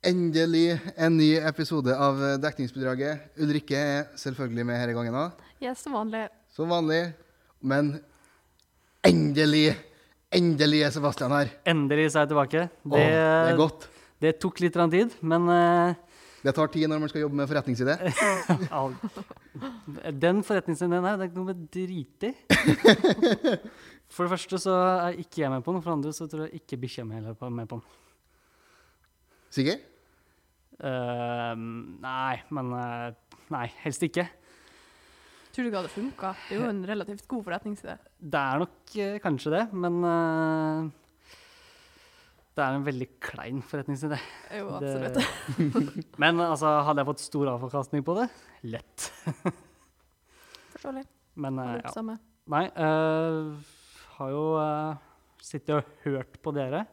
Endelig en ny episode av Dekningsbidraget. Ulrikke er selvfølgelig med denne gangen òg, Ja, som vanlig. som vanlig. Men endelig, endelig er Sebastian her. Endelig så er jeg tilbake. Åh, det er godt. det tok litt grann tid, men eh, Det tar tid når man skal jobbe med forretningsidé. au. Den forretningsideen her, det er ikke noe med drit i. For det første så er ikke jeg med på den, for det andre så tror jeg ikke bikkja mi heller er med på den. Sikker? Eh, nei, men eh, Nei, helst ikke. Tror du ikke hadde funka? Det er jo en relativt god forretningsidé. Det er nok eh, kanskje det, men eh, Det er en veldig klein forretningsidé. Det er Jo, Det- absolutt. Men altså, hadde jeg fått stor avkastning på det? Lett. Forståelig. Men eh, Alle ja. oppsamme. Nei, eh, har jo eh, sittet og hørt på dere.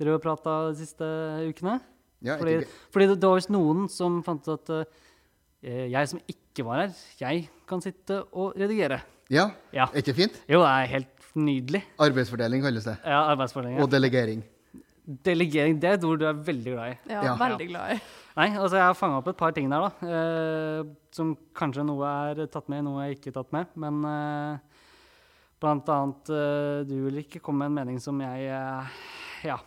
Dere har prata de siste ukene. Ja, Fordi, jeg tenker- fordi det, det var visst noen som fant ut at eh, jeg som ikke var her, jeg kan sitte og redigere. ja, Ja. er ikke fint? Jo, det er helt nydelig. Arbeidsfordeling kalles det. Ja, arbeidsfordeling. Og Ja. delegering. Delegering, det er et ord du er veldig glad i. Ja, Ja. veldig glad i. Nei, altså jeg har fanga opp et par ting der, da. Eh, som kanskje noe er tatt med, noe er ikke tatt med. Men eh, blant annet eh, du vil ikke komme med en mening som jeg eh, Ja.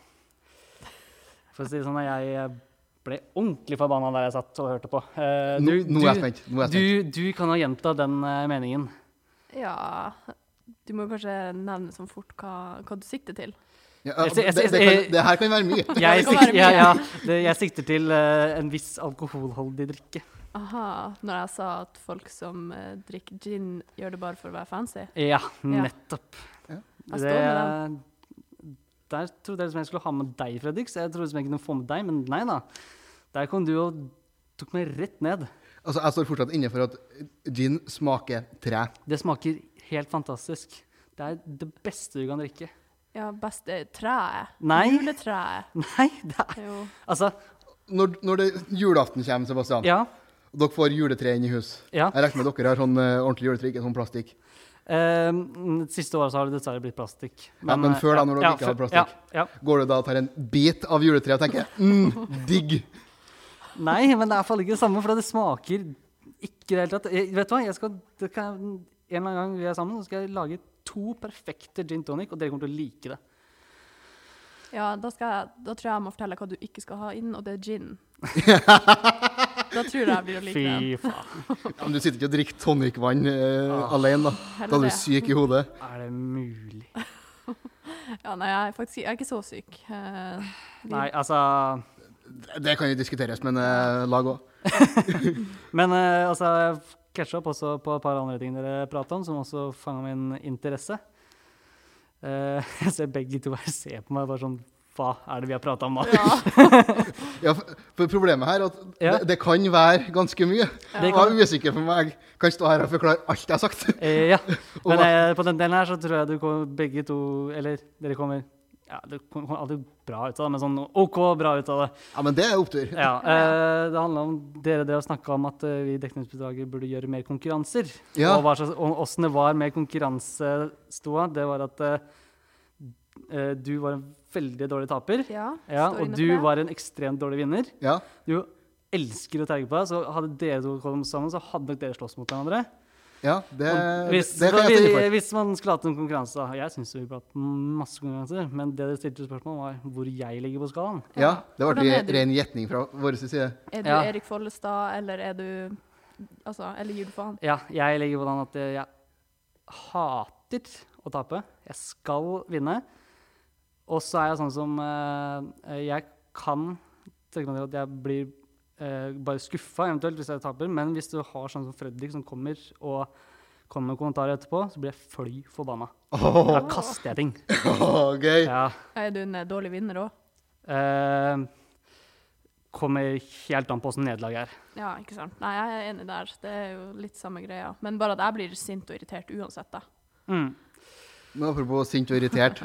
For å si det sånn, jeg ble ordentlig forbanna der jeg satt og hørte på. Eh, Nå, du- nå er jeg du- spent. Nå er jeg spent. Du, du kan ha gjenta den eh, meningen. Ja Du må kanskje nevne sånn fort hva, hva du sikter til. Ja, Jeg- det, jeg- det, kan, jeg- det her kan være mye. Jeg, kan sik være mye. ja, ja, det, jeg sikter til eh, en viss alkoholholdig drikke. Aha. Når jeg sa at folk som eh, drikker gin, gjør det bare for å være fancy. Ja, nettopp. Ja. Jeg står med Der trodde jeg liksom jeg skulle ha med deg, Fredrik, så jeg trodde liksom jeg kunne få med deg, men nei da. Der kom du og tok meg rett ned. Altså, jeg står fortsatt inne for at gin smaker tre. Det smaker helt fantastisk. Det er det beste du kan drikke. Ja, best er treet. Nei. Juletreet. Nei, det er Det er Jo. Altså, Når, når det, julaften kommer, Sebastian, ja. og dere får juletre inn i hus ja. Jeg regner med dere har sånn eh, ordentlig juletre, ikke sånn plastikk. Ehm, siste året så har det dessverre blitt plastikk. Ja, men før da, når du ikke før- hadde plastikk. Ja, ja. Går du da og tar en bit av juletreet og tenker mm, digg? Nei, men det er iallfall ikke det samme, for det smaker ikke i det hele tatt. Jeg, vet du hva, jeg skal, det kan, En eller annen gang vi er sammen, så skal jeg lage to perfekte gin tonic, og dere kommer til å like det. Ja, da, skal jeg, da tror jeg jeg må fortelle hva du ikke skal ha inn, og det er gin. da tror jeg jeg blir å like Fy den. faen. Ja, men du sitter ikke og drikker tonicvann eh, Ah. alene, da. Da Heller er du det. syk i hodet. Er det mulig? Ja, nei, jeg er faktisk jeg er ikke så syk. Eh, vi- Nei, altså Det kan jo diskuteres, men eh, lag òg. Men eh, altså, ketchup også på et par andre ting dere prata om, som også fanga min interesse. Eh, jeg ser begge to her se på meg bare sånn Hva er det vi har prata om nå? Ja. Ja, for, for problemet her er at Ja. det, det kan være ganske mye. Det Jeg kan- er usikker for meg. Jeg kan stå her og forklare alt jeg har sagt. Eh, ja. Og Men hva- eh, på den delen her så tror jeg du kommer begge to Eller dere kommer ja, Det kommer aldri bra ut av det, men sånn OK bra ut av det. Ja, men det er opptur. Ja, eh, det handler om dere drev og snakka om at eh, vi i dekningsbidraget burde gjøre mer konkurranser. Ja. Og hva slags, og åssen det var med konkurransestoda, det var at eh, eh, du var en veldig dårlig taper. Ja, Ja, står og inne for du det. var en ekstremt dårlig vinner. Ja. Du elsker å terge på deg, så hadde dere to kommet sammen, så hadde nok dere slåss mot hverandre. Ja, det, Og Eh, det hvis, kan jeg vi- stå inne for. hvis man skulle hatt en konkurranse, da. Jeg syns jo vi burde hatt masse konkurranser, men det dere stilte spørsmål om, var hvor jeg ligger på skalaen. Ja, det Hvordan er ble du? ren gjetning fra vår side. Er du Ja. Erik Follestad, eller er du Altså, eller gir du faen? Ja, jeg ligger på den at jeg hater å tape. Jeg skal vinne. Og så er jeg sånn som eh, Jeg kan tenke meg til at jeg blir eh, bare skuffa eventuelt hvis jeg taper, men hvis du har sånn som Fredrik som kommer og kommer med kommentarer etterpå, så blir jeg fly forbanna. Da kaster jeg ting. Åh, gøy. Ja. Er du en eh, dårlig vinner òg? Eh, kommer helt an på åssen nederlaget er. Ja, ikke sant. Nei, jeg er enig der. Det er jo litt samme greia. Men bare at jeg blir sint og irritert uansett, da. Mm. Men apropos sint og irritert.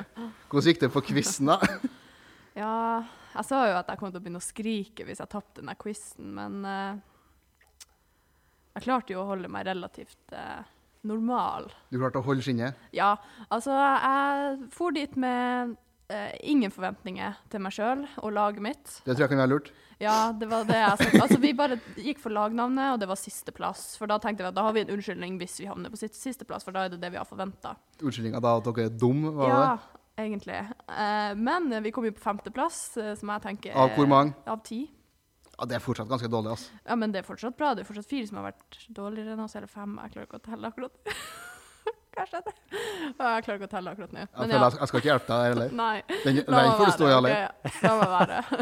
Hvordan gikk det på quizen, da? Ja, jeg sa jo at jeg kom til å begynne å skrike hvis jeg tapte den der quizen, men eh, jeg klarte jo å holde meg relativt eh, normal. Du klarte å holde skinnet? Ja, altså jeg for dit med eh, ingen forventninger til meg sjøl og laget mitt. Det tror jeg kan være lurt. Ja, det var det jeg sa. Altså, vi bare gikk for lagnavnet, og det var sisteplass. For da tenkte vi at da har vi en unnskyldning hvis vi havner på sit- sisteplass, for da er det det vi har forventa. Unnskyldninga da at dere er dum, var Ja, egentlig. Eh, men vi kom jo på femteplass, eh, som jeg tenker det? Av hvor mange? Av ti. Ja, det er fortsatt ganske dårlig, altså. Ja, men det er fortsatt bra. Det er fortsatt fire som har vært dårligere enn oss, eller fem. Jeg klarer ikke å telle akkurat. Kanskje det. Ja, Jeg klarer ikke å telle akkurat nå. Jeg, føler jeg, jeg skal ikke hjelpe deg heller. Nei. Den, La den meg får du stå i være, alene. ok? La meg være.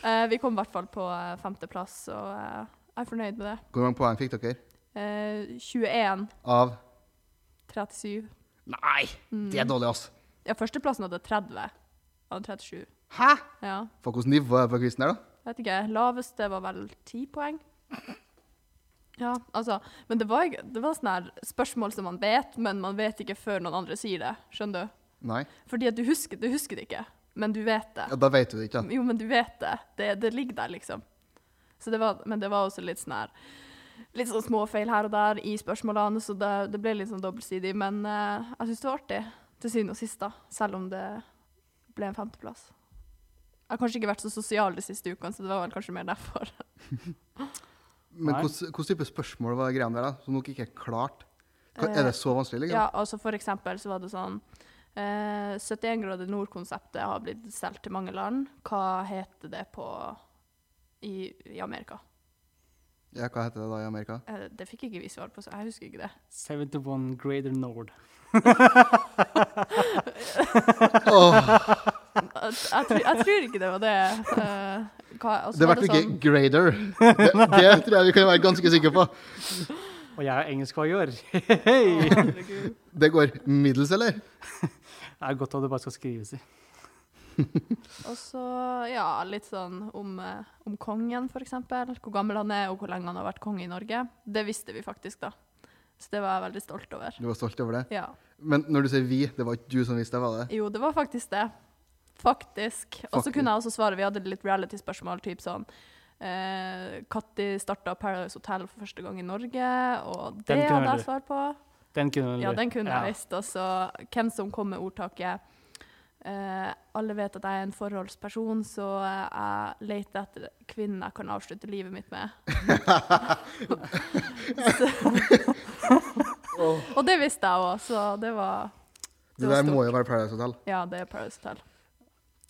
Eh, vi kom i hvert fall på eh, femteplass, og eh, jeg er fornøyd med det. Hvor mange poeng fikk dere? Eh, 21, Av 37. Nei, Mm. det er dårlig, altså. Ja, førsteplassen hadde 30 av 37. Hæ? Ja, For hvilket nivå er det på quizen her, da? vet ikke. Laveste var vel 10 poeng. Ja, altså, men det var, ikke- det var sånne her spørsmål som man vet, men man vet ikke før noen andre sier det, skjønner du? Nei. Fordi at du husker, du husker det ikke, men du vet det. Ja, da vet du det ikke, da. Jo, men du vet det. Det, det ligger der, liksom. Så det var, men det var også litt sånn her Litt sånn småfeil her og der i spørsmålene, så det, det ble litt sånn dobbeltsidig. Men eh, jeg syns det var artig, til syvende og sist, da. Selv om det ble en femteplass. Jeg har kanskje ikke vært så sosial de siste ukene, så det var vel kanskje mer derfor. Men Nei. hvordan hvordan type spørsmål var greiene der, da? Som dere ikke er klart? Hva- Er det så vanskelig, liksom? Eh, Ja, altså for eksempel så var det sånn eh, 71 grader nord-konseptet har blitt solgt til mange land. Hva heter det på i, i Amerika? Ja, hva heter det da i Amerika? Eh, Det fikk ikke vi svar på, så jeg husker ikke det. 71 Greater Nord. Jeg, jeg, tror- jeg tror ikke det var det. eh, hva, og så Det var sånn- ble ikke grader. Det, det tror jeg vi kan være ganske sikre på. Og jeg er engelskfagjør. sånn- Det Å, herregud. Det går middels, eller? er godt at det bare skal skrives i. Og så, ja, litt sånn om, eh, om kongen, for eksempel. Hvor gammel han er, og hvor lenge han har vært konge i Norge. Det visste vi faktisk, da. Så det var jeg veldig stolt over. Du var stolt over det. Ja. Men når du sier vi, det var ikke du som visste det, var det? Jo, det var faktisk det. Faktisk. Og så Faktisk. kunne jeg også svare, vi hadde litt reality-spørsmål, typ sånn eh, Katti starta Paradise Hotel for første gang i Norge, og Den det kunne hadde jeg du. svar på. Den kunne du. Ja, den kunne Ja. jeg visst. Og så hvem som kom med ordtaket eh, Alle vet at jeg er en forholdsperson, så jeg leter etter kvinnen jeg kan avslutte livet mitt med. så. Og det visste jeg òg, så det var Det var der må jo være Paradise Hotel. Ja, det er Paris Hotel.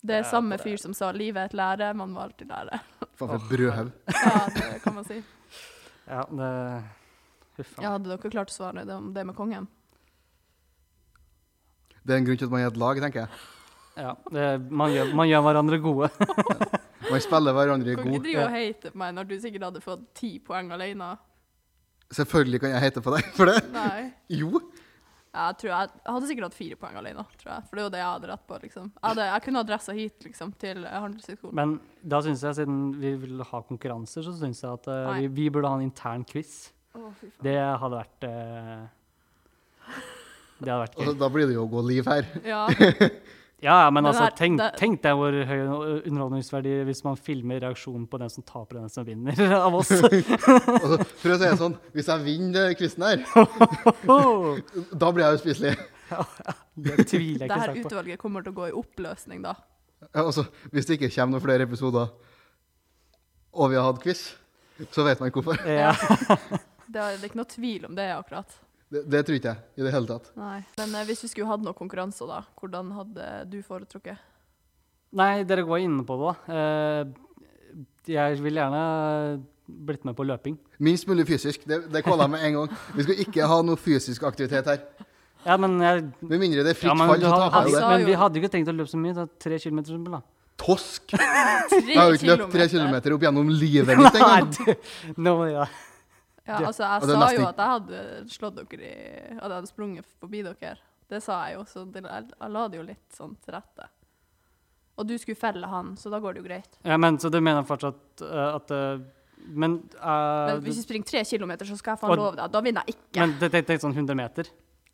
Det er Ja, samme det- fyr som sa 'livet er et lære, man må alltid lære'. Faen for et brødhaug. Ja, det kan man si. Ja, det... Huff a meg. Ja, hadde dere klart å svare det om det med kongen? Det er en grunn til at man er et lag, tenker jeg. Ja, det, man, gjør, man gjør hverandre gode. Man spiller hverandre Du kan ikke god. drive og hate på meg når du sikkert hadde fått ti poeng alene. Selvfølgelig kan jeg hete på deg for det. Nei. Jo. Ja, Jeg, tror jeg, jeg hadde sikkert hatt fire poeng alene, tror jeg. For det er jo det jeg hadde rett på, liksom. Jeg, hadde, jeg kunne ha dressa hit, liksom, til eh, Handelshøyskolen. Men da synes jeg, siden vi vil ha konkurranser, så synes jeg at eh, Nei. vi, vi burde ha en intern quiz. Å, fy faen. Det hadde vært eh, Det hadde vært Og så, gøy. da blir det jo å gå liv her. Ja, Ja, ja, men Den altså, her- tenk, det- tenk deg hvor høy underholdningsverdi hvis man filmer reaksjonen på den som taper og den som vinner av oss. Og så, for å si det sånn, hvis jeg vinner quizen her, Oh, da blir jeg uspiselig. det tviler jeg det ikke her sterkt på. utvalget kommer til å gå i oppløsning, da. Ja, Og så, hvis det ikke kommer noen flere episoder, og vi har hatt quiz, så vet man hvorfor. Ja. Det er, det er ikke noe tvil om det, akkurat. Det, det tror ikke jeg i det hele tatt. Nei. Men eh, hvis vi skulle hatt noen konkurranser, da, hvordan hadde du foretrukket? Nei, dere går inne på det, da. Eh, jeg vil gjerne blitt med på løping. Minst mulig fysisk. Det, det kaller jeg med en gang. Vi skal ikke ha noe fysisk aktivitet her. Ja, men jeg Med mindre det er fritt ja, men, fall, du så hadde, taper jeg jo altså- det. men vi hadde jo ikke tenkt å løpe så mye. Det er tre kilometer, for eksempel, da. Tosk! Tre Jeg har jo ikke løpt tre kilometer opp gjennom livet mitt engang. Nei, du- nå må jeg- Ja, altså, Og jeg det er sa nesten jo ikke- at jeg hadde slått dere i At jeg hadde sprunget forbi dere. Det sa jeg jo, så det, jeg, jeg la det jo litt sånn til rette. Og du skulle felle han, så da går det jo greit. ja, men så du mener fortsatt eh, at eh, Men, eh, Men hvis vi springer tre kilometer, så skal jeg faen Og- love deg. Da vinner jeg ikke. men det, det, det er sånn 100 meter?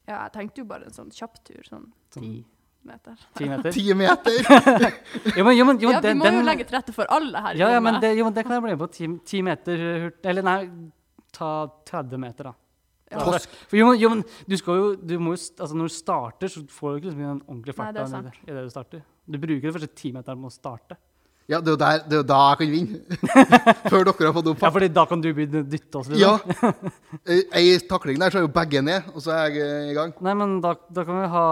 Ja, jeg tenkte jo bare en sånn kjapp tur, sånn ti meter. 10 meter? Ti meter! Jo, men, jo, men, jo, ja, vi den- må den- jo legge til rette for alle her i ja, ja, men rommet. det, jo, men det kan jeg bli med på. 10 meter hurt... Eller nei, ta 30 meter, da. Ja. Torsk. For jo, men- jo, men du skal jo, du må jo st- altså Når du starter, så får du ikke liksom den ordentlige Nei, det er farta i det- i det du starter. Du bruker de første ti meterne på å starte. Ja, det er jo der- det er jo da jeg kan vinne. Før dere har fått opp Ja, fordi da kan du begynne å dytte liksom. oss litt. Ja. Eh, Ei takling der, så er jo begge ned, og så er jeg eh, i gang. Nei, men da, da kan vi ha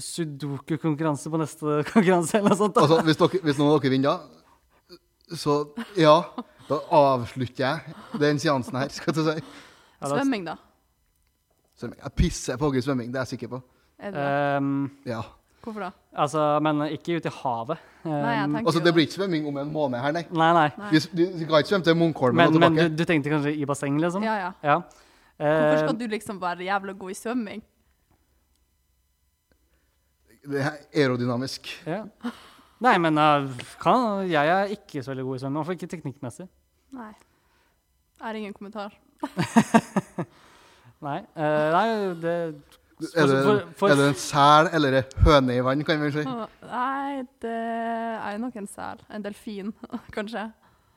sudoku-konkurranse på neste konkurranse eller noe sånt. da. Altså, hvis, dere, hvis noen av dere vinner, da, så ja. Da avslutter jeg den seansen her, skal jeg til å si. Ja, da- Svømming, da? Svømming. Jeg pisser på Gud svømming, det er jeg sikker på. Er det det? Ehm, Ja. Hvorfor da? altså, men ikke ut i havet. Ehm, Nei, jeg tenker Altså, jo det da- blir ikke svømming om en måned her, nei. nei, nei. Nei. Vi, s- du, du kan ikke svømme til Munkholmen og Men, men tilbake. du, du tenkte kanskje i basseng, liksom? Ja, ja. Ja. Hvorfor skal Ehm, du liksom være jævla god i svømming? Det er aerodynamisk. ja. Nei, men eh, kan, jeg er ikke så veldig god i svømming. Iallfall ikke teknikkmessig. Nei. Jeg har ingen kommentar. Nei, eh, nei det Er det, for- for- er det en sel eller en høne i vann, kan vi si? Å, Nei, det er nok en sel. En delfin, kanskje.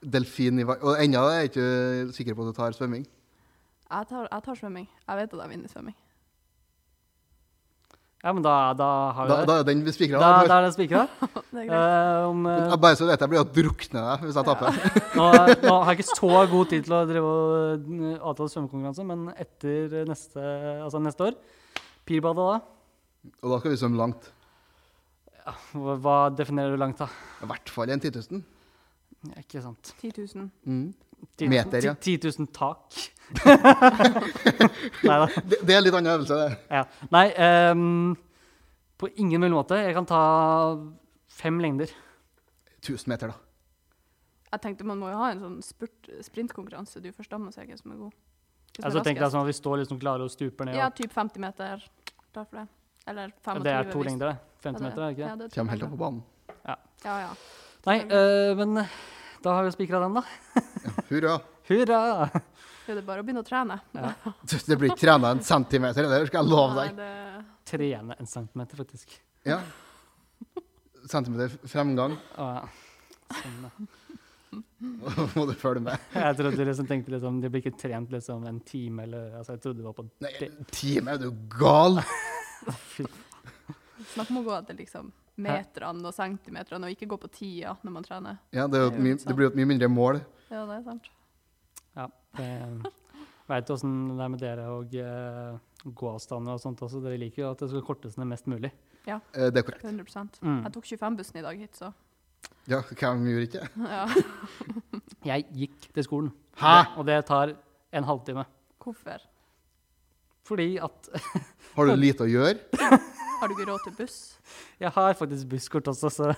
Delfin i vann. Og ennå er jeg ikke sikker på at du tar svømming. Jeg tar, jeg tar svømming. Jeg vet at jeg vinner i svømming. Ja, men da, da har vi Da, det. da er den spikra. Da, da er det spikra. Det er greit. Eh, om, eh, Bare så vet jeg blir å drukne deg hvis jeg taper. Nå, nå har jeg ikke så god tid til å drive og eh, avtale svømmekonkurranse, men etter neste, altså neste år Pirbadet, da? Og da skal vi svømme langt. Hva hva definerer du langt, da? I hvert fall en 10 000. Ja, ikke sant. 10 000. Mm. Ti- Meter, ja. ti- 10 000 tak. Nei da. Det, det er en litt annen øvelse, det. Ja. Nei, ehm, på ingen mulig måte. Jeg kan ta fem lengder. 1000 meter, da. Jeg tenkte man må jo ha en sånn spurt, sprintkonkurranse. Du først da må se hvem som er god. Hvem som er Altså, tenk deg raskest. sånn at vi står liksom klare og stuper ned. Ja, Og, typ 50 meter. Klar for det. Eller 25. det er to hvis- lengder, det. liksom. 50 Ja, meter, er det ikke det? Ja, det er to Kommer helt opp lengder. på banen. Ja, ja. Nei, eh, men da har vi spikra den, da. Hurra. Hurra! Det er bare å begynne å trene. Ja. Det blir ikke trena en centimeter, det skal jeg love Nei, deg. det... Trene en centimeter, faktisk. Ja. Centimeter fremgang, Å, ja. Sånn, ja. må du følge med. jeg trodde liksom tenkte liksom, de blir ikke trent liksom en time eller altså, Jeg trodde det var på Nei, en time, er du gal? Fy, Snakk om å gå etter liksom meterne og centimeterne, og ikke gå på tida når man trener. Ja, det, er jo et mye- det blir jo et mye mindre mål. Ja, det er sant. Ja. Veit du åssen det er med dere og eh, gåavstander og sånt også? Dere liker jo at det skal kortes ned mest mulig. Eh, Det er korrekt. 100 Mm. Jeg tok 25-bussen i dag hit, så Ja, hvem gjorde ikke det? ja. Jeg gikk til skolen, Hæ? og det tar en halvtime. Hvorfor? Fordi at Har du lite å gjøre? Har du ikke råd til buss? jeg har faktisk busskort også, så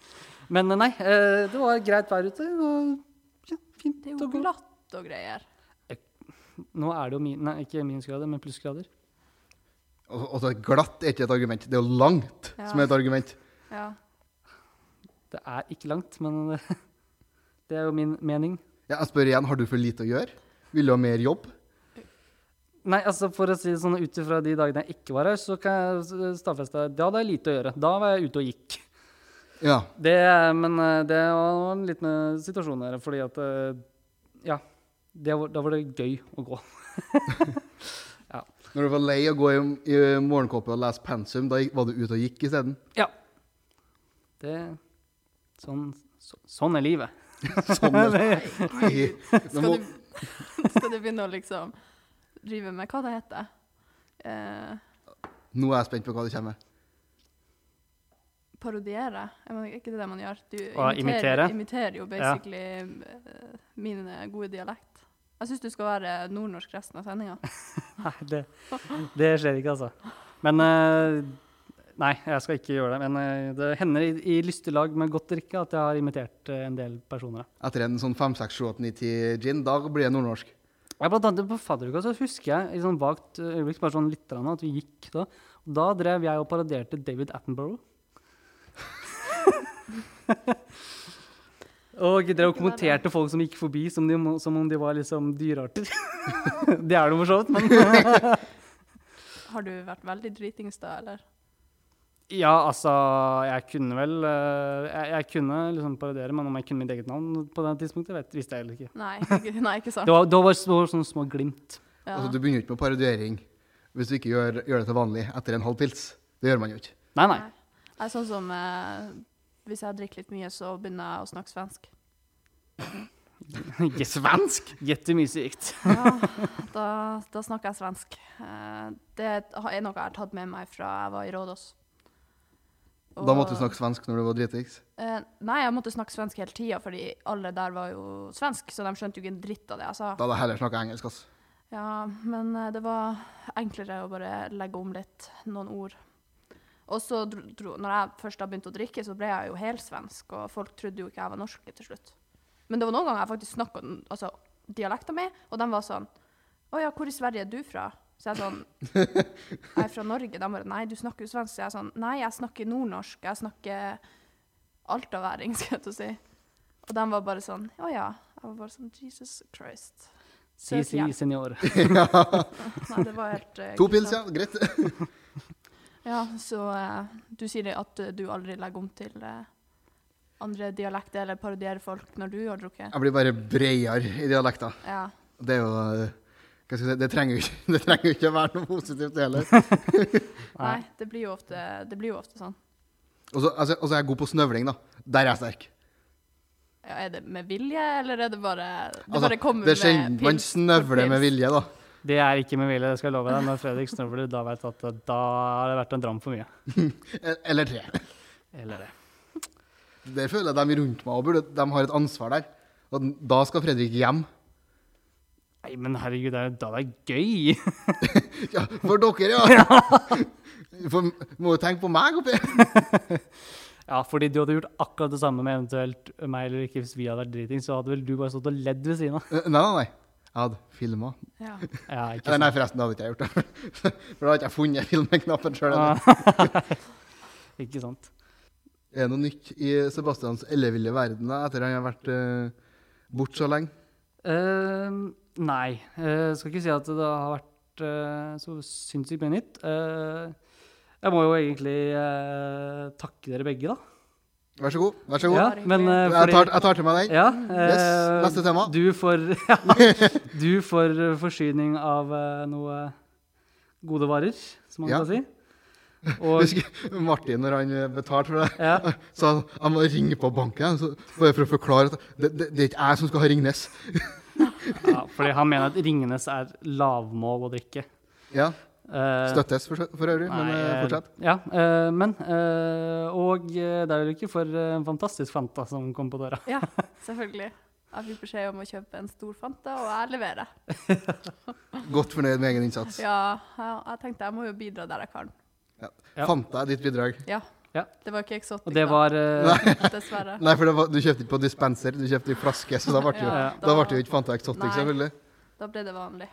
Men eh, nei, eh, det var greit vær ute. Og ja, fint Det er å jo gå. glatt og greier. Nå er det jo min, nei, ikke minusgrader, men plussgrader. Og og så er glatt er ikke et argument. Det er jo langt Ja. som er et argument. Ja. Det er ikke langt, men eh, det er jo min mening. Ja, jeg spør igjen, har du for lite å gjøre? Vil du ha mer jobb? Nei, altså for å si det sånn, ut ifra de dagene jeg ikke var her, så kan jeg stadfeste at da hadde jeg lite å gjøre. Da var jeg ute og gikk. Ja. Det, men eh, det var litt med situasjonen her, fordi at eh, Ja. Det var, da var det gøy å gå. Når du var lei å gå i, i morgenkåpe og lese pensum, da gikk- var du ute og gikk isteden? Ja. Det Sånn, så, sånn er livet. Sånn er det. Nei. Nå må, Skal du, skal du begynne å liksom drive med hva det heter? Eh, nå er jeg spent på hva det kommer. parodiere? Er man- er ikke det det man gjør? Du Å, imitere? imiterer jo Ja. basically eh, min gode dialekt. Jeg syns du skal være nordnorsk resten av sendinga. Nei, det, det skjer ikke, altså. Men eh, Nei, jeg skal ikke gjøre det. Men eh, det hender i, i lystig lag med godt drikke at jeg har imitert eh, en del personer. Etter en sånn 5, 6, 7, 8, 9, 10 gin, da blir det nordnorsk. Ja, blant annet på fadderuka så husker jeg i sånn vagt øyeblikk bare sånn litt grann, at vi gikk da. Og da drev jeg og parodierte David Attenborough. og drev og kommenterte folk som gikk forbi som, de, må- som om de var liksom dyrearter. det er det jo for så vidt, men Har du vært veldig dritings da, eller? Ja, altså Jeg kunne vel eh, jeg, jeg kunne liksom parodiere, men om jeg kunne mitt eget navn på det tidspunktet, vet, visste jeg heller ikke. Nei, ikke, nei, ikke sant? Det var, det var så- sånne små glimt. Ja. Altså, du begynner jo ikke med parodiering hvis du ikke gjør, gjør det til vanlig etter en halv pils. Det gjør man jo ikke. Nei, nei. Det er sånn som eh, hvis jeg drikker litt mye, så begynner jeg å snakke svensk. Ikke svensk! Jättemysigt. Ja, da, da snakker jeg svensk. Eh, det er noe jeg har tatt med meg fra jeg var i Rådås. Da måtte du snakke svensk når du var dritings. Eh, nei, jeg måtte snakke svensk hele tida, fordi alle der var jo svensk, så de skjønte jo ikke en dritt av det jeg sa. Da hadde jeg heller snakka engelsk, ass. Ja, men eh, det var enklere å bare legge om litt, noen ord. Og så, dro, dro, når jeg først da begynte å drikke, så ble jeg jo helsvensk, og folk trodde jo ikke jeg var norsk til slutt. Men det var noen ganger jeg faktisk snakka altså, dialekta mi, og de var sånn Å ja, hvor i Sverige er du fra? Så jeg sånn Jeg er fra Norge. De bare Nei, du snakker jo svensk. Så jeg sånn Nei, jeg snakker nordnorsk. Jeg snakker altaværing, skal jeg til å si. Og de var bare sånn Å ja. Jeg var bare sånn Jesus Christ. Si, si, senior. Nei, det var helt eh, To pils, ja. grusomt. Greit. Ja, så eh, du sier det at eh, du aldri legger om til eh, andre dialekter eller parodierer folk når du har drukket? Jeg blir bare bredere i dialekta. Ja. Det er jo eh, hva skal jeg si, det trenger jo ikke, det trenger jo ikke å være noe positivt heller. Nei, det blir jo ofte, det blir jo ofte sånn. Og så altså, altså, jeg er god på snøvling, da. Der er jeg sterk. Ja, er det med vilje, eller er det bare Det Altså, bare kommer det er sjelden med man pils for snøvler pils. med vilje, da. Det er ikke med vilje, det skal jeg love deg. Når Fredrik snøvler, da vet du at eh, da har det vært en dram for mye. E- Eller tre. Eller det. Der føler jeg de rundt meg og burde, de har et ansvar der. Og da skal Fredrik hjem. Nei, men herregud, det er jo da det er gøy! Ja, for dere, ja! For, må jo tenke på meg oppi Ja, fordi du hadde gjort akkurat det samme med eventuelt meg eller ikke hvis vi hadde vært driting, så hadde vel du bare stått og ledd ved siden av. Eh, Nei, nei, nei. Jeg hadde filma. Ja. Ja, ikke Nei, nei, sant. forresten, det hadde ikke jeg gjort. det. For da hadde ikke jeg funnet filmeknappen sjøl. Ikke sant. Er det noe nytt i Sebastians elleville verden da, etter han har vært uh, bort så lenge? Ehm, nei. Eh, skal ikke si at det har vært eh, så sinnssykt mye nytt. Eh, jeg må jo egentlig eh, takke dere begge, da. Vær så god. vær så god. Ja, Bare men eh, Jeg, tar, fordi jeg tar til meg den. ja, eh, Yes, neste tema. Du får, ja, du får eh, forsyning av eh, noe gode varer, som man Ja. kan si. Og Husker Martin, når han eh, betalte for det, ja, sa han han må ringe på banken. Så, bare for å forklare at det, det, det er ikke jeg som skal ha Ringnes. ja, fordi han mener at Ringnes er lavmål å drikke. Ja, Eh, Støttes for, for øvrig, men eh, Nei, fortsett. eh, Ja, eh, men eh, Og eh, det er jo ikke for eh, en fantastisk Fanta som kom på døra. ja, selvfølgelig. Jeg fikk beskjed om å kjøpe en stor Fanta, og jeg leverer. Godt fornøyd med egen innsats. Ja, jeg, jeg tenkte jeg må jo bidra der jeg kan. Ja. Fant jeg ditt bidrag? Ja. Ja. Det var ikke eksotisk, Og det var eh, da, dessverre. Nei, for det var, du kjøpte ikke på dispenser, du kjøpte i flaske, så da ble det jo, Ja, da ble det jo ikke Fanta Exotic, Nei. selvfølgelig. Da ble det vanlig.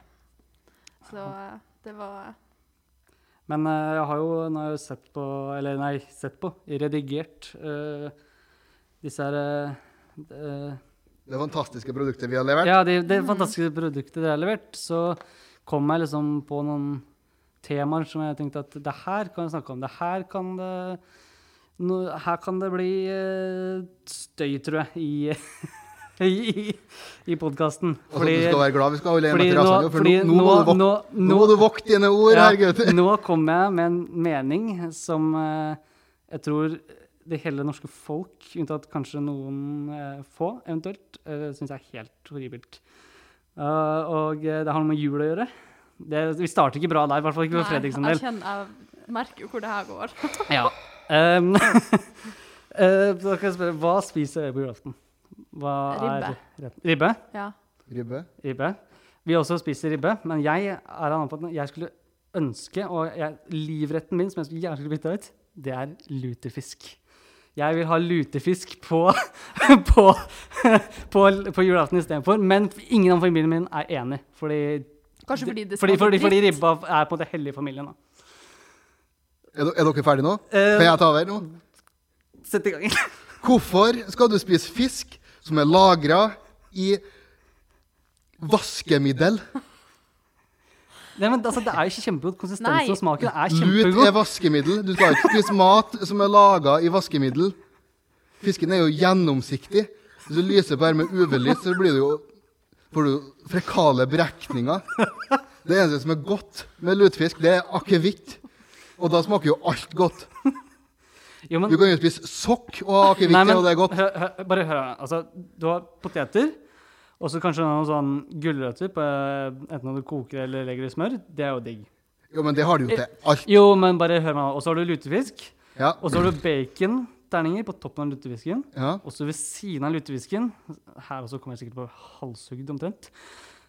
Så eh, det var Men eh, jeg har jo nå har jeg jo sett på Eller nei, sett på. Redigert eh, disse her eh, eh, Det fantastiske produktet vi har levert. Ja, det, det fantastiske produktet dere har levert. Så kom jeg liksom på noen temaer som jeg tenkte at det her kan jeg snakke om. Det her kan det no, Her kan det bli eh, støy, tror jeg, i, i, i podkasten. Altså, du skal være glad vi skal holde en fordi etter nå- rasene, jo, for nå, fordi nå, må nå- du vok- nå- nå må du vokte dine ord ja, her, gutter. nå kom jeg med en mening som eh, jeg tror det hele norske folk, unntatt kanskje noen eh, få eventuelt, uh, syns er helt horribelt. Eh, og eh, det har noe med jul å gjøre. Det, vi starter ikke bra der, i hvert fall ikke for Fredrik sin del. jeg kjenner Jeg merker jo hvor det her går. Ja. Um, eh, da kan jeg spørre, hva spiser dere på julaften? Hva Ribbe. Er retten? ribbe? Ja. Ribbe. Ribbe. Vi også spiser ribbe, men jeg er av den oppfatning at jeg skulle ønske, og jeg, livretten min som jeg skulle gjerne skulle bytte ut, det er lutefisk. Jeg vil ha lutefisk på, på, på, på julaften istedenfor. Men ingen av familien min er enig. Fordi, Kanskje fordi det fordi, smaker fordi, fordi dritt. ribba er på en måte hellig i familien. Da. Er, do- er dere ferdige nå? Eh, Kan jeg ta over nå? Sett i gang. Hvorfor skal du spise fisk som er lagra i vaskemiddel? Nei, men altså, Det er jo kjempegodt. Nei. Konsistensen og smaken Lut er er kjempegod. vaskemiddel. Du skal ikke spise mat som er laga i vaskemiddel. Fisken er jo gjennomsiktig. Hvis du lyser på her med UV-lys, så blir det jo, får du jo frekale berekninger. Det eneste som er godt med lutefisk, det er akevitt. Og da smaker jo alt godt. Jo, men Du kan jo spise sokk og ha akevitt Nei, til, men og det er godt. Hør, hør, bare hør her. Altså, du har poteter, og så kanskje noen sånn gulrøtter, på, eh, enten om du koker eller legger i smør. Det er jo digg. Jo, men det har du jo til alt. Jo, men bare hør meg nå. Og så har du lutefisk, Ja. og så har du bacon-terninger på toppen av lutefisken. ja. Og så ved siden av lutefisken, her også kommer jeg sikkert på halshugd omtrent,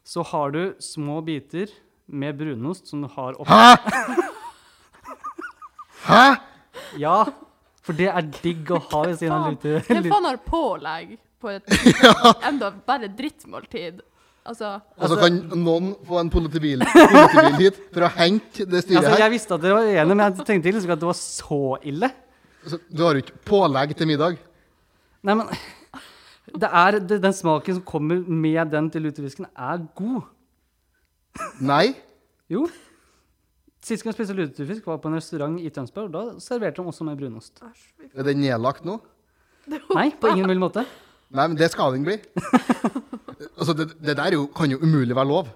så har du små biter med brunost som du har oppi. Hæ?! Hæ?! Ja, for det er digg å ha ved siden av lute- Hvem lute... faen har pålegg på et enda bare drittmåltid? Altså, Og så Altså- kan noen få en politibil, politibil hit for å hente det styret Altså, her. jeg visste at dere var enige, men jeg tenkte liksom ikke at det var så ille. Så Altså, Du har jo ikke pålegg til middag. Nei, men det er, det, den smaken som kommer med den til lutefisken, er god. Nei. Jo. Sist gang jeg spiste lutefisk, var på en restaurant i Tønsberg. og Da serverte de også med brunost. Er den nedlagt nå? Nei, på ingen mulig måte. Nei, men det skal den bli. Altså, det, det der er jo, kan jo umulig være lov.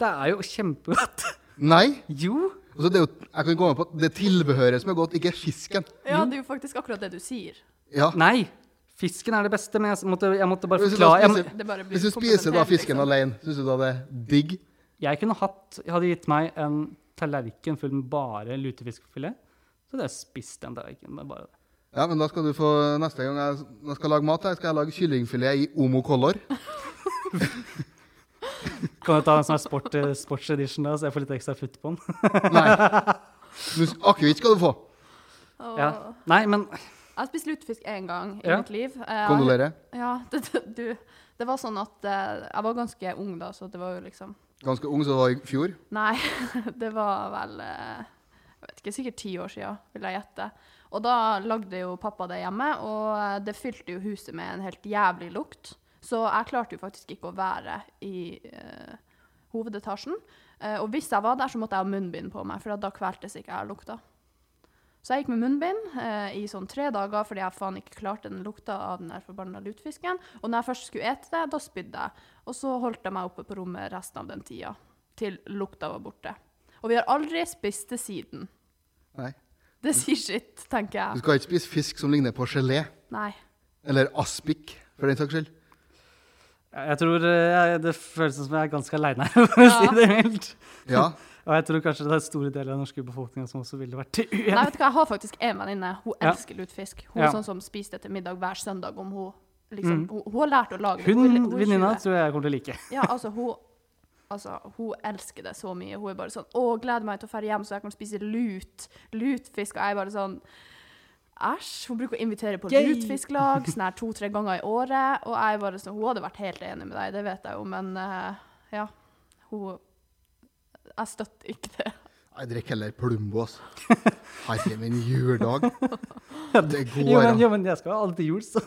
Det er jo kjempegodt. Nei. Jo. Altså, det er jo, jeg kan gå med på at det er tilbehøret som er godt, ikke fisken. ja, det er jo faktisk akkurat det du sier. Ja. Nei. Fisken er det beste, men jeg s- måtte, jeg måtte bare Hvis du, da forklare jeg, spiser, Det bare blir hvis du spiser da komplementert, fisken liksom. alene, syns du da det er digg? jeg kunne hatt Jeg hadde gitt meg en tallerken full med bare lutefiskfilet. Så hadde jeg spist den tallerkenen med bare det. Ja, men da skal du få Neste gang jeg, når jeg skal lage mat, her, skal jeg lage kyllingfilet i Omo Color. Kan du ta en sånn her sport, eh, sports edition, da, så jeg får litt ekstra futt på den? Nei. Men Akevitt skal du få. Åh. Ja. Nei, men Jeg har spist lutefisk én gang i Ja. mitt liv. Eh, Kondolerer. Ja, det, det, du, det var sånn at eh, Jeg var ganske ung da, så det var jo liksom Ganske ung, så det var i fjor. Nei, det var vel eh, jeg vet ikke, sikkert ti år siden, vil jeg gjette. Og da lagde jo pappa det hjemme, og eh, det fylte jo huset med en helt jævlig lukt. Så jeg klarte jo faktisk ikke å være i eh, hovedetasjen. Eh, og hvis jeg var der, så måtte jeg ha munnbind på meg, for da kveltes ikke jeg av lukta. Så jeg gikk med munnbind eh, i sånn tre dager fordi jeg faen ikke klarte den lukta av den der forbanna lutefisken. Og når jeg først skulle ete det, da spydde jeg. Og så holdt jeg meg oppe på rommet resten av den tida til lukta var borte. Og vi har aldri spist det siden. Nei. Det sier sitt, tenker Du jeg. skal ikke spise fisk som ligner på gelé. Nei. Eller aspik, for den saks skyld. jeg jeg tror eh, jeg, det føles som jeg er ganske aleine her, for å si Ja. det mildt. Ja. Og jeg tror kanskje det er store deler av den norske befolkninga som også ville vært Nei, uenig. vet du hva, jeg har faktisk en venninne. Hun Ja. elsker lutefisk. Hun Ja. Mm. er sånn som spiser det til middag hver søndag om hun liksom hun, hun har lært å lage det. Hun, er- Hun hun er venninna 20. tror jeg jeg kommer til å like. Ja, altså, hun Altså, Hun elsker det så mye. Hun er bare sånn 'Å, gleder meg til å dra hjem, så jeg kan spise lut. Lutfisk.' Og jeg er bare sånn Æsj. Hun bruker å invitere på Yay! lutfisklag sånn her to-tre ganger i året. Og jeg er bare sånn Hun hadde vært helt enig med deg, det vet jeg jo, men eh, ja. Hun Jeg støtter ikke det. Jeg drikker heller Plumbo, altså. Herre min juledag. Det Jo, går men, an. jo, men jeg skal ha alt til jul, så.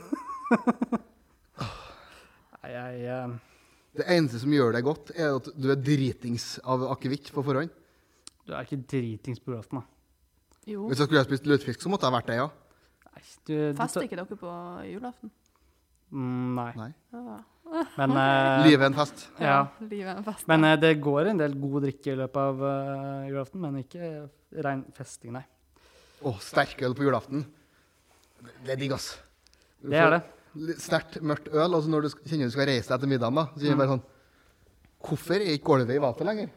Nei, jeg eh, Det eneste som gjør deg godt, er at du er dritings av akevitt på forhånd. Du er ikke dritings på julaften, da. Jo. Hvis jeg skulle ha spist lutefisk, så måtte jeg vært det, ja. Nei, du, du Fester tar- ikke dere på julaften? Mm, nei. Nei. Ja. Men, eh, Livet er en fest. Ja. Livet er en fest. men eh, det går en del god drikke i løpet av eh, julaften, men ikke rein festing, nei. Å, sterkøl på julaften. Det er digg, ass. Du Det er det. får litt Sterkt, mørkt øl, og så når du sk- kjenner du skal reise deg etter middagen, da, så kjenner du bare sånn Hvorfor er ikke gulvet i vater lenger?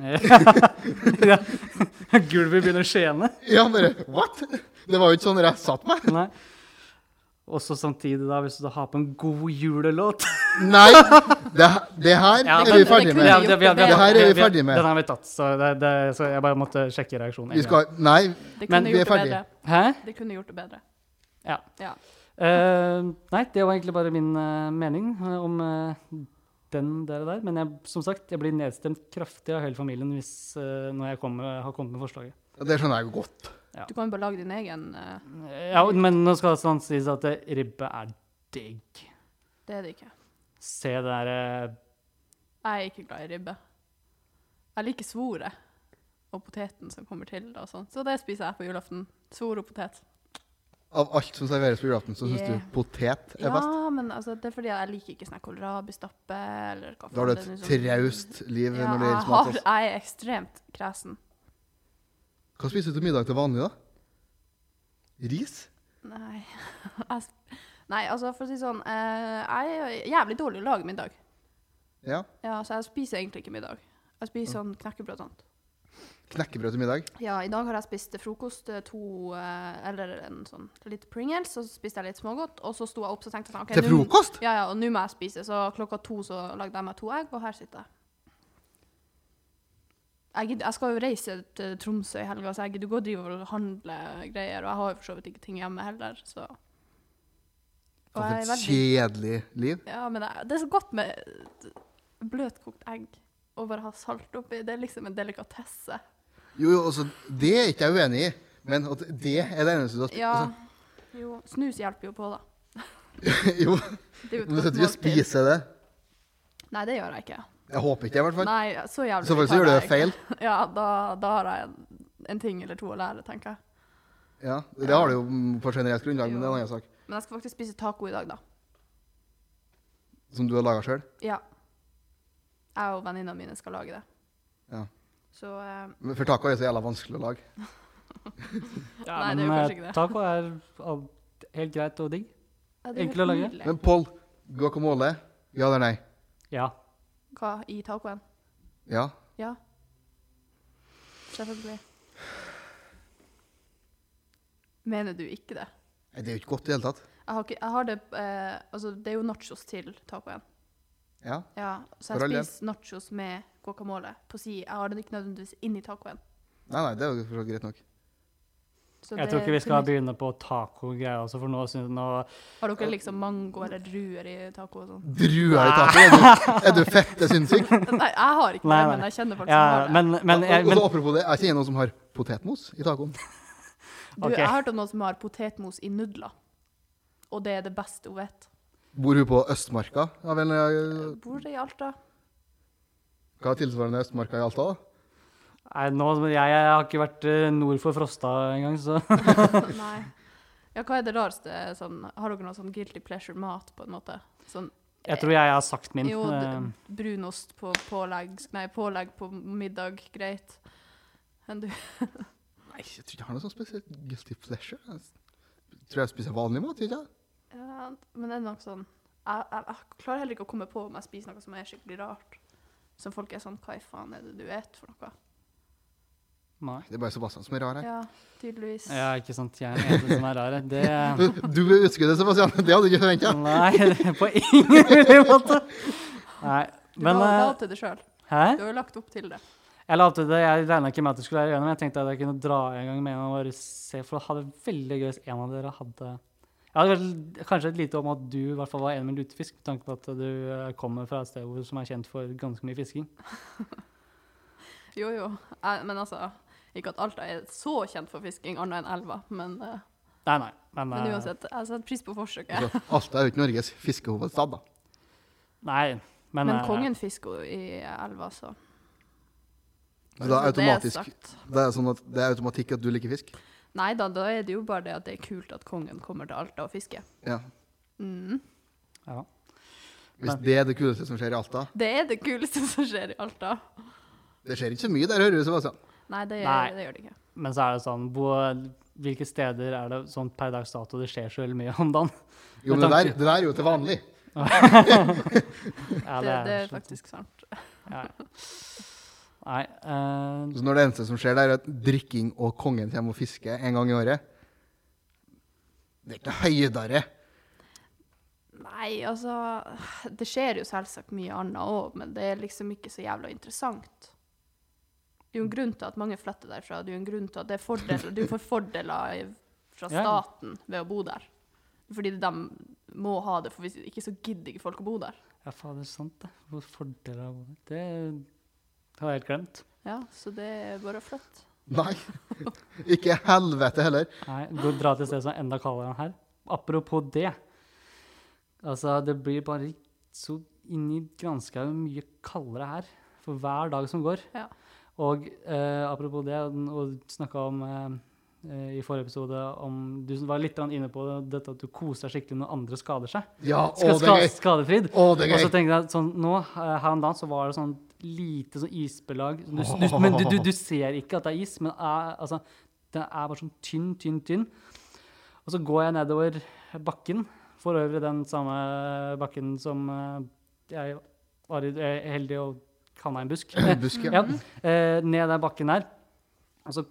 ja. Gulvet begynner å skjene. Ja, bare What?! Det var jo ikke sånn jeg satt meg. Nei. Også samtidig, da, hvis du da har på en god julelåt Nei! Det, det her Ja, er men vi det ferdig kunne med. vi gjort det bedre. Det her er vi ferdig med. Den er vi tatt, så, det, det, så jeg bare måtte sjekke reaksjonen. Vi skal Nei. Det men kunne vi er gjort det ferdig. bedre. Hæ? Det kunne gjort det bedre. Ja. Ja. Eh, nei, det var egentlig bare min eh, mening eh, om eh, den der. der. Men jeg, som sagt, jeg blir nedstemt kraftig av hele familien hvis, eh, når jeg kommer, har kommet med forslaget. Det skjønner jeg jo godt. Du kan jo bare lage din egen. eh, Ja, men nå skal det sånn sies at eh, ribbe er digg. Det er det ikke. Se det der eh, Jeg er ikke glad i ribbe. Jeg liker svoret og poteten som kommer til. det Og sånn. så det spiser jeg på julaften. Svor og potet. Av alt som serveres på julaften, så syns Yeah. du potet er Ja, best? men altså, det er fordi jeg liker ikke sånn her kålrabistappe eller hva Da har du faen et det er nå som- traust liv Ja, når det jeg, gjelder har, smak. ass. jeg er ekstremt kresen. Hva spiser du til middag til vanlig, da? Ris? Nei. Jeg sp- Nei, altså, for å si sånn eh, Jeg er jævlig dårlig til å lage middag. Ja. Ja, så jeg spiser egentlig ikke middag. Jeg spiser sånn knekkebrød og sånt. Knekkebrød til middag? Ja, i dag har jeg spist til frokost eh, to eh, Eller en sånn litt Pringles, så spiste jeg litt smågodt, og så sto jeg opp så tenkte jeg sånn ok, Til nå- frokost? Ja, ja, og nå må jeg spise. Så klokka to så lagde jeg meg to egg, og her sitter jeg. Jeg, gidder, jeg skal jo reise til Tromsø i helga, så jeg gidder ikke å drive og handle greier. Og jeg har jo for så vidt ikke ting hjemme heller, så og For jeg er et veldig, kjedelig liv. Ja, men det, det er så godt med bløtkokt egg og bare ha salt oppi. Det er liksom en delikatesse. Jo, jo, altså, det er ikke jeg uenig i, men at det er det eneste du har Ja. Jo, snus hjelper jo på, da. altså, Jo, Det er jo et men du sitter godt jo og måltid. spiser det. Nei, det gjør jeg ikke. Jeg håper ikke det, i hvert fall. Nei, så jævlig I så fall så tar gjør du jeg det ikke. feil. Ja, da, da har jeg en ting eller to å lære, tenker jeg. Ja, det har du jo mm, på generelt grunnlag, men det er en annen sak. Men jeg skal faktisk spise taco i dag, da. Som du har laga sjøl. Ja. Jeg og venninnene mine skal lage det. Ja. Så eh, For taco er så jævla vanskelig å lage. Ja, Nei, det er men jo kanskje eh, ikke det. taco er all- helt greit og digg. ja, det er Enkelt helt å lage. nydelig. Men Pål, guacamole? Ja eller nei? Ja. Hva i tacoen? Ja. Ja. Selvfølgelig. Mener du ikke det? Nei, Det er jo ikke godt i det hele tatt. Jeg har, ikke, jeg har det eh, Altså, det er jo nachos til tacoen. Ja. Ja, så For jeg all del. spiser nachos med guacamole på si. Jeg har det ikke nødvendigvis inni tacoen. Nei, nei, det er jo for så vidt greit nok. Så Jeg det tror ikke vi er skal til- begynne på taco-greier også, for nå synes nå Har dere liksom mango eller druer i taco og sånn? Druer i taco? Er du, er du fette sinnssyk? Nei, jeg har ikke Nei, det, nei. men jeg kjenner folk som Ja, har det. men, men, jeg, og men så apropos det, jeg kjenner noen som har potetmos i tacoen. Du, Ok. Jeg har hørt om noen som har potetmos i nudler. Og det er det beste hun vet. Bor hun på Østmarka? Ja, vel, eh, Bor i Alta. hva er tilsvarende Østmarka i Alta? da? nei, nå, jeg, jeg har ikke vært eh, nord for Frosta engang, så Nei. Ja, hva er det rareste sånn Har dere noe sånn guilty pleasure-mat, på en måte? Sånn jeg tror jeg har sagt min. jo, Eh, d- brunost på pålegg Nei, pålegg på middag, greit. Men du Nei, jeg tror ikke jeg har noe sånn spesielt guilty pleasure. Jeg tror jeg spiser vanlig mat, ikke jeg? ja, Men det er nok sånn jeg, jeg, jeg klarer heller ikke å komme på om jeg spiser noe som er skikkelig rart. Som folk er sånn Hva i faen er det du et for noe? Nei. Det er bare Sebastian som er rar her. Ja, tydeligvis. Ja, ikke sant. Jeg er den eneste som er rar. her. Det Du ble utskuddet, Sebastian. Det hadde du ikke forventa. Nei, det er på ingen mulig måte. Nei, Du men har jo eh, lagt til det sjøl. Hæ? Du har jo lagt opp til det. Jeg la opp til det, jeg regna ikke med at du skulle være igjennom. Jeg tenkte at jeg kunne dra en gang med en og bare se, for det hadde vært veldig gøy hvis en av dere hadde Jeg hadde vært kanskje et lite om at du i hvert fall var enig med lutefisk, med tanke på at du eh, kommer fra et sted hvor, som er kjent for ganske mye fisking. Jo, jo. Jeg, men altså Ikke at Alta er så kjent for fisking, annet enn elva. Men, eh, Nei, nei. Men, men eh, uansett, jeg setter pris på forsøket. Altså, Alta er jo ikke Norges fiskehovedstad, da. Nei, men, Men eh, kongen fisker jo i elva, så Så da er Så det automatisk sagt. Det er sånn at det er automatikk at du liker fisk? Nei da, da er det jo bare det at det er kult at kongen kommer til Alta og fisker. Ja. Mm. Ja. Hvis det er det kuleste som skjer i Alta Det er det kuleste som skjer i Alta. Det skjer ikke så mye der, hører du, Sebastian. Nei, det, Nei. det gjør det ikke. men så er det sånn hvor, Hvilke steder er det sånn per dags dato det skjer så veldig mye om dagen? Jo, men det der, det der er jo til vanlig. Ja, Det, det er- er faktisk sant. ja. Nei. eh, Så når det eneste som skjer der, er at drikking og kongen kommer og fisker en gang i året Det er ikke noe høydere. Nei, altså Det skjer jo selvsagt mye annet òg, men det er liksom ikke så jævla interessant. Det er jo en grunn til at mange flytter derfra. Det er jo en grunn til at det er fordeler. Du får fordeler i- fra Ja. staten ved å bo der. Fordi de må ha det, for hvis ikke så gidder ikke folk å bo der. Ja, fader, sant det. Hvor fordeler av det Det har jeg helt glemt. Ja, Så det er bare å flytte. Nei. Ikke helvete heller. Nei, gå dra til et sted som er enda kaldere enn her. Apropos det. Altså, det blir bare så inn i granskauen mye kaldere her for hver dag som går. Ja. Og eh, apropos det, og snakka om eh, eh, i forrige episode om Du var litt grann inne på dette at du koser deg skikkelig når andre skader seg. Ja, Skal å, det er gøy! skadefrid. Å, det er Og så gøy! tenkte jeg at sånn, nå, eh, her om dagen, så var det sånn lite sånn isbelag. Du, du, men du, du, du ser ikke at det er is, men er, altså, det er bare sånn tynn, tynn, tynn. Og så går jeg nedover bakken, for øvrig den samme bakken som eh, jeg var i- jeg er heldig å kanne en busk. Eh, Busk, ja. ja. Eh, ned den bakken der. Og så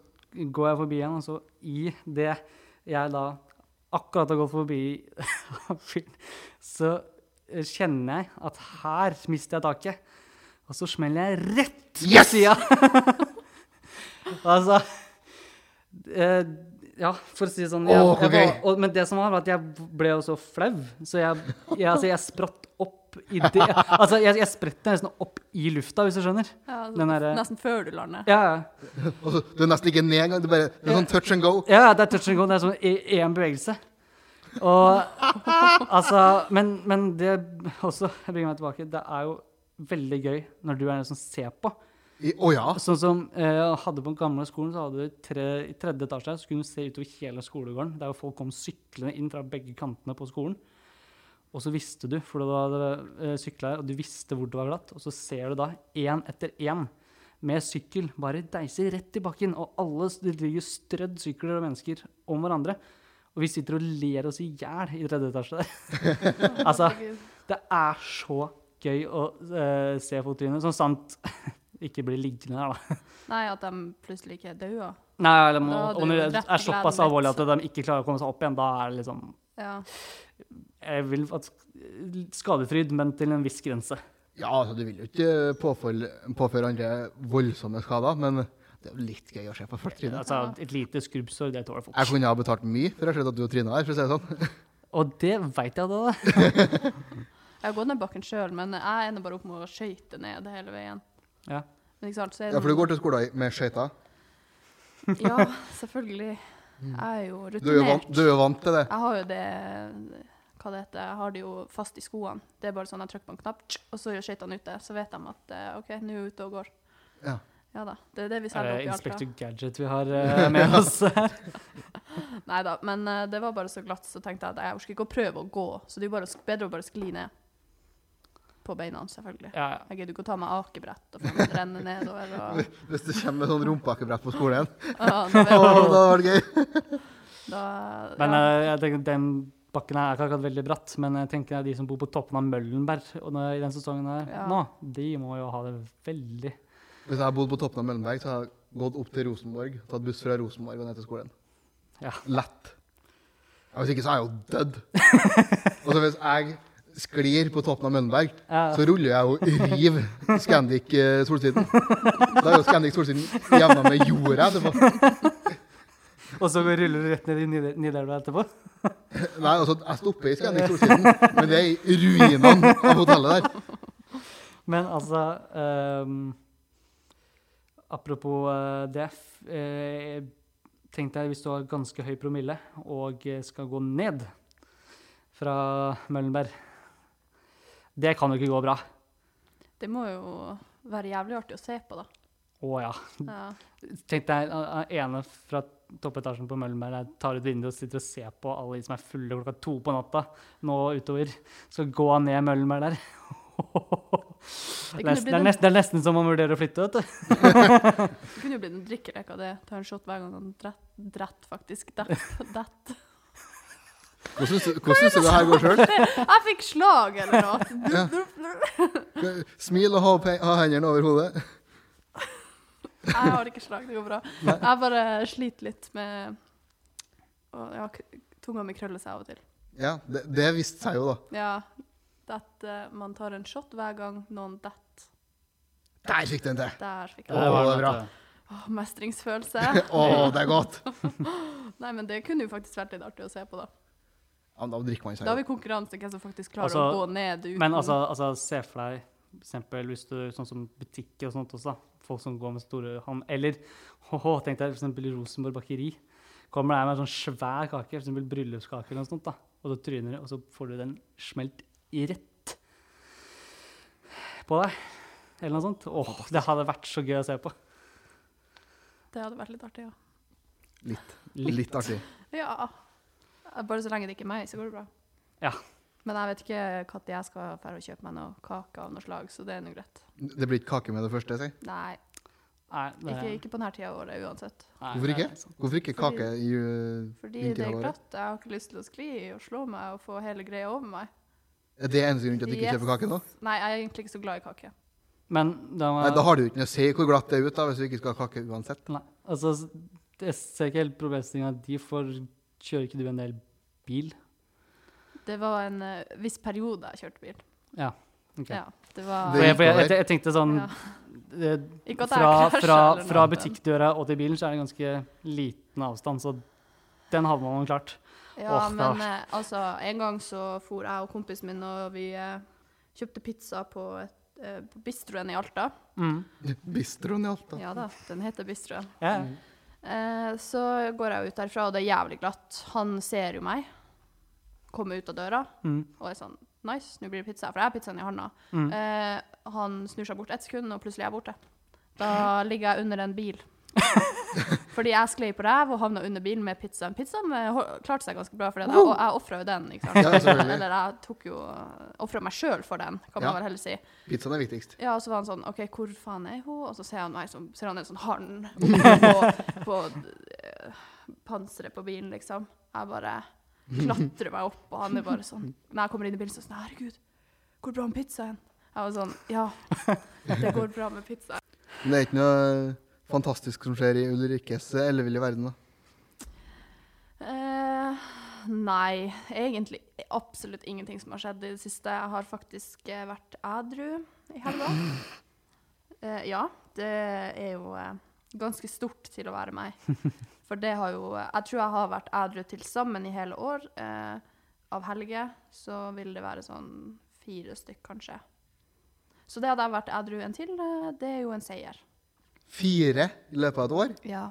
går jeg forbi igjen, og så i det jeg da akkurat har gått forbi fyren, så eh, kjenner jeg at her mister jeg taket. Og så smeller jeg rett på Yes! sida. altså eh, Ja, for å si det sånn. Jeg, Åh, hvor jeg var, gøy. og, men det som var, var at jeg ble jo så flau, så jeg, jeg, altså, jeg spratt opp i det Altså, jeg, jeg spretter nesten opp i lufta, hvis du skjønner. Ja, altså, Den eh, derre- Nesten før du lander. Ja, ja. Og så- Du er nesten ikke ned engang. Det er bare det er sånn touch and go. Ja, ja, det er touch and go. Det er sånn i- én bevegelse. Og altså Men, men det også Jeg bringer meg tilbake. Det er jo veldig gøy når du er den som ser på. I- Å ja. Sånn som eh, hadde på den gamle skolen, så hadde du tre, i tredje etasje så kunne du se utover hele skolegården. Der hvor folk kom syklende inn fra begge kantene på skolen. Og så visste du, for du hadde eh, sykla her, og du visste hvor det var glatt. Og så ser du da én etter én med sykkel bare deiser rett i bakken. Og alle det ligger strødd sykler og mennesker om hverandre. Og vi sitter og ler oss i hjel i tredje etasje der. altså, det er så gøy å eh, se fototrynet. Sånn sant ikke blir liggende her, da. Nei, at de plutselig ikke er døde. Nei, eller må, Da hadde og du jo når det drept er såpass gleden alvorlig at litt, de ikke klarer å komme seg opp igjen, da er det liksom Ja. jeg vil at Skadefryd, men til en viss grense. Ja, altså, du vil jo ikke påføre, påføre andre voldsomme skader, men det er jo litt gøy å se på folk tryne. Altså, et lite skrubbsår, det tåler Jeg folk. kunne ha betalt mye for å se at du og Trine her, for å si det sånn. Og det veit jeg da. da. Jeg har gått ned bakken sjøl, men jeg ender bare opp med å skøyte ned hele veien. Ja. Men ikke sant, så er det Ja, for du går til skolen med skøyter. Ja, selvfølgelig. Jeg er jo Mm. Du er jo vant, rutinert. du er jo vant til det. Jeg har jo det Hva det heter Jeg har det jo fast i skoene. Det er bare sånn jeg trykker på en knapp, tsk, og så gjør skøytene ute. Så vet de at eh, OK, nå er jeg ute og går. Ja. Ja da. Det er det vi Er det selger opp i Alta. Inspector Gadget vi har eh, med oss her? Nei da, men eh, det var bare så glatt, så tenkte jeg at jeg orker ikke å prøve å gå. Så det er jo bare, bedre å bare skli ned. På beina, selvfølgelig. Ja, ja. Jeg gidder ikke å ta meg akebrett og få meg til å renne nedover. Og, Hvis du kommer med sånn rumpeakebrett på skolen, Ja, da da vet jeg- var det gøy. da- Men ja. eh, jeg tenker den bakken her er ikke akkurat veldig bratt, men jeg tenker at de som bor på toppen av Møllenberg og nå- i den sesongen her Ja. nå, de må jo ha det veldig Hvis jeg hadde bodd på toppen av Møllenberg, så hadde jeg gått opp til Rosenborg, tatt buss fra Rosenborg og ned til skolen. Ja. Lett. Ja, hvis ikke, så er jeg jo dødd. og så hvis jeg sklir på toppen av Møllenberg, Ja. så ruller jeg og river Scandic eh, Solsiden. Da er jo Scandic Solsiden jevna med jorda etterpå. Og så ruller du rett ned i Nide- Nidelva etterpå? Nei, altså, jeg stopper i Scandic Solsiden, men det er i ruinene av hotellet der. Men altså ehm, Apropos eh, det. f- eh, Tenk deg hvis du har ganske høy promille og eh, skal gå ned fra Møllenberg. Det kan jo ikke gå bra. Det må jo være jævlig artig å se på, da. Å ja. Ja. Tenk deg eh, eh, ene fra toppetasjen på Møllenberg der tar ut vinduet og sitter og ser på alle de som er fulle klokka to på natta nå utover. Skal gå ned Møllenberg der. Det Det kunne er, blitt en- nesten, det er nesten som om man vurderer å flytte, vet du. Det kunne jo blitt en drikkelek av det. Ta en shot hver gang han drett, drett faktisk. Dett. dett. Hvordan syns du- hvordan syns du det her går sjøl? Jeg fikk slag eller noe. Smil og ha, opp- ha hendene over hodet. Jeg har ikke slag, det går bra. Jeg bare sliter litt med å, ja, k- Tunga mi krøller seg av og til. Ja, det, det viste seg jo, da. Ja. Dett, eh, man tar en shot hver gang noen detter. Der fikk den til. Der fikk Ja, det jeg var det. bra. Åh, mestringsfølelse. Å, det er godt! Nei, men det kunne jo faktisk vært litt artig å se på, da. Ja, men da drikker man seg Da har jo. vi konkurranse hvem som faktisk klarer Altså, å gå ned uten Men altså, altså se for deg for eksempel hvis du, sånn som butikker og sånt også, da. folk som går med store ham, eller åhå, tenk deg for eksempel Rosenborg bakeri, kommer der med en sånn svær kake, for eksempel bryllupskake eller noe sånt da, og du tryner det, og så får du den smelt rett på deg, eller noe sånt. Åh, det hadde vært så gøy å se på. Det hadde vært litt artig, ja. Litt. Litt, Litt. artig. Ja. Bare så lenge det ikke er meg, så går det bra. Ja. Men jeg vet ikke når jeg skal dra og kjøpe meg noe kake av noe slag, så det er nå greit. Det blir ikke kake med det første, si. Nei, Nei, det- ikke, ikke på denne tida av året uansett. nei, Hvorfor det er sånn. ikke? sant. Hvorfor ikke Fordi- kake i øh, Fordi det er vinterhalvåret? glatt. Jeg har ikke lyst til å skli og slå meg og få hele greia over meg. Er det eneste grunn til at du ikke Yes. kjøper kake nå? Nei, jeg er egentlig ikke så glad i kake. Men da må Nei, Da har det jo ikke noe å si hvor glatt det er ut da, hvis du ikke skal ha kake uansett. Nei, altså, s- jeg ser ikke helt problemstillinga di, for kjører ikke du en del bil? Det var en eh, viss periode jeg kjørte bil. Ja. ok. Ja, det var For jeg, for jeg, gikk jeg, jeg tenkte sånn ja. det, Ikke at det er fra, krasj fra, eller noe, fra men- butikkdøra og til bilen så er det ganske liten avstand, så den hadde man jo klart. Ja, Åh, det var- men eh, altså, en gang så for jeg og kompisen min, og vi eh, kjøpte pizza på, et, eh, på bistroen i Alta. Bistroen i Alta. Ja da, den heter bistroen. Ja. Eh, så går jeg ut derfra, og det er jævlig glatt. Han ser jo meg komme ut av døra, Mm. og er sånn Nice, nå blir det pizza. For jeg har pizzaen i handa. Mm. Eh, han snur seg bort ett sekund, og plutselig er jeg borte. Da ligger jeg under en bil. Fordi jeg sklei på ræv og havna under bilen med pizzaen. Pizzaen eh, hol- klarte seg ganske bra, for den. og jeg ofra jo den. ikke sant? Ja, selvfølgelig. Eller jeg tok jo ofra meg sjøl for den, kan man Ja. vel heller si. Pizzaen er viktigst. Ja, og så var han sånn OK, hvor faen er hun? Og så ser han meg som ser han en sånn hann på, på eh, panseret på bilen, liksom. Jeg bare klatrer meg opp, og han er bare sånn Når jeg kommer inn i bilen, så er han sånn Herregud, går det bra med pizzaen? Jeg var sånn Ja, det går bra med pizza. Men det er ikke noe fantastisk som skjer i Ulrikkes elleville verden. da. Eh, nei, egentlig absolutt ingenting som har skjedd i det siste. Jeg har faktisk eh, vært ædru i helga. Eh, ja, det er jo eh, ganske stort til å være meg. For det har jo Jeg tror jeg har vært ædru til sammen i hele år. Eh, av helger så vil det være sånn fire stykk, kanskje. Så det hadde jeg vært ædru en til, eh, det er jo en seier. Fire i løpet av et år? Ja.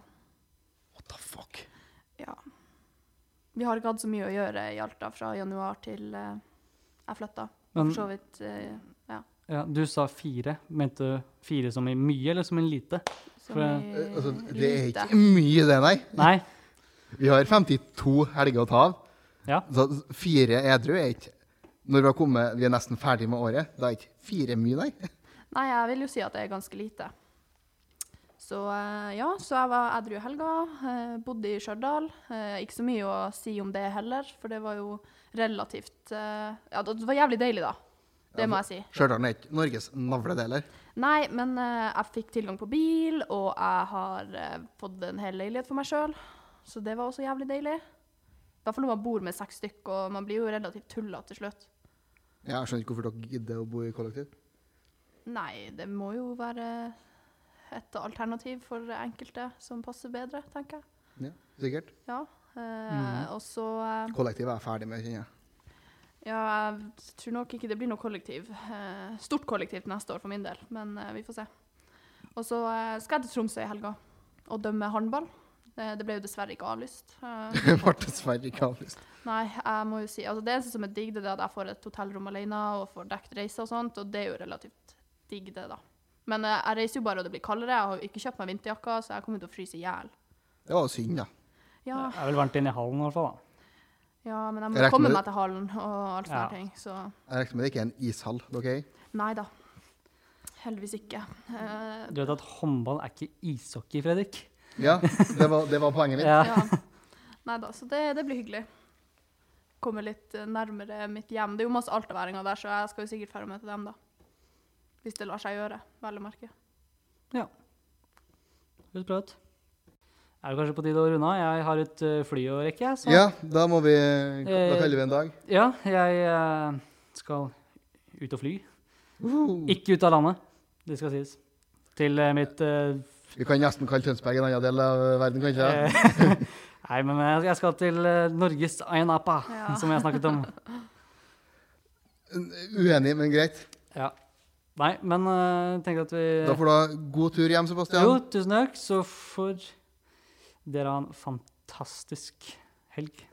What the fuck? Ja. Vi har ikke hatt så mye å gjøre i Alta fra januar til eh, jeg flytta. Men For så vidt eh, ja, du sa fire. Mente du fire som i mye, eller som i lite? som For, i Eh, Altså, det er lite. ikke mye, det, nei. Nei. Vi har 52 helger å ta av. Ja. Så fire edru er ikke Når vi har kommet, vi er nesten ferdig med året, da er ikke fire mye, nei. Nei, jeg vil jo si at det er ganske lite. Så eh, ja, så jeg var edru i helga. eh, bodde i Stjørdal. Eh, ikke så mye å si om det heller, for det var jo relativt eh, Ja, det var jævlig deilig, da. Ja, Det må jeg si. Stjørdal er ikke Norges navledeler. Nei, men eh, jeg fikk tilgang på bil, og jeg har eh, fått en hel leilighet for meg sjøl. Så det var også jævlig deilig. I hvert fall når man bor med seks stykk, og man blir jo relativt tulla til slutt. Jeg skjønner ikke hvorfor dere gidder å bo i kollektiv. Nei, det må jo være et alternativ for enkelte som passer bedre, tenker jeg. Ja, sikkert. Ja. eh, Og så eh, Kollektiv er jeg ferdig med, kjenner jeg. Ja, jeg tror nok ikke det blir noe kollektiv. eh, stort kollektiv neste år for min del, men eh, vi får se. Og så eh, skal jeg til Tromsø i helga og dømme håndball. Eh, det ble jo dessverre ikke avlyst. Eh, Det ble dessverre ikke avlyst. nei, jeg må jo si altså Det eneste som er digg, det er at jeg får et hotellrom alene og får dekket reise og sånt, og det er jo relativt digg, det, da. Men eh, jeg reiser jo bare, og det blir kaldere. Jeg har jo ikke kjøpt meg vinterjakka, så jeg kommer til å fryse i hjel. Det var jo synd, da. Ja, Det er vel varmt inne i hallen i hvert fall, da. ja, Jeg men jeg må regner jo komme med- meg til hallen og alt sånne Ja. ting, så Jeg regner med det ikke er en ishall. ok? Nei da. Heldigvis ikke. Eh, Du vet at håndball er ikke ishockey, Fredrik. Ja, det var, det var poenget mitt. Ja. Ja. Nei da, så det, det blir hyggelig. Kommer litt eh, nærmere mitt hjem. Det er jo masse altaværinger der, så jeg skal jo sikkert dra og møte dem, da. Hvis det lar seg gjøre, vel å merke. Ja. Høres bra ut. Er det kanskje på tide å runde av? Jeg har et eh, fly å rekke, jeg, så Ja, da må vi Eh, Da kaller vi en dag. Ja, jeg eh, skal ut og fly. Uh. Ikke ut av landet, det skal sies. Til eh, mitt eh, Vi kan nesten kalle Tønsberg en annen del av verden, kanskje. eh, Nei, men jeg- jeg skal til eh, Norges Ayanapa, Ja. som jeg snakket om. Eh. Uenig, men greit. Ja. Nei, men eh, tenk at vi Da får du ha god tur hjem, Sebastian. Jo, tusen takk. Så får dere ha en fantastisk helg.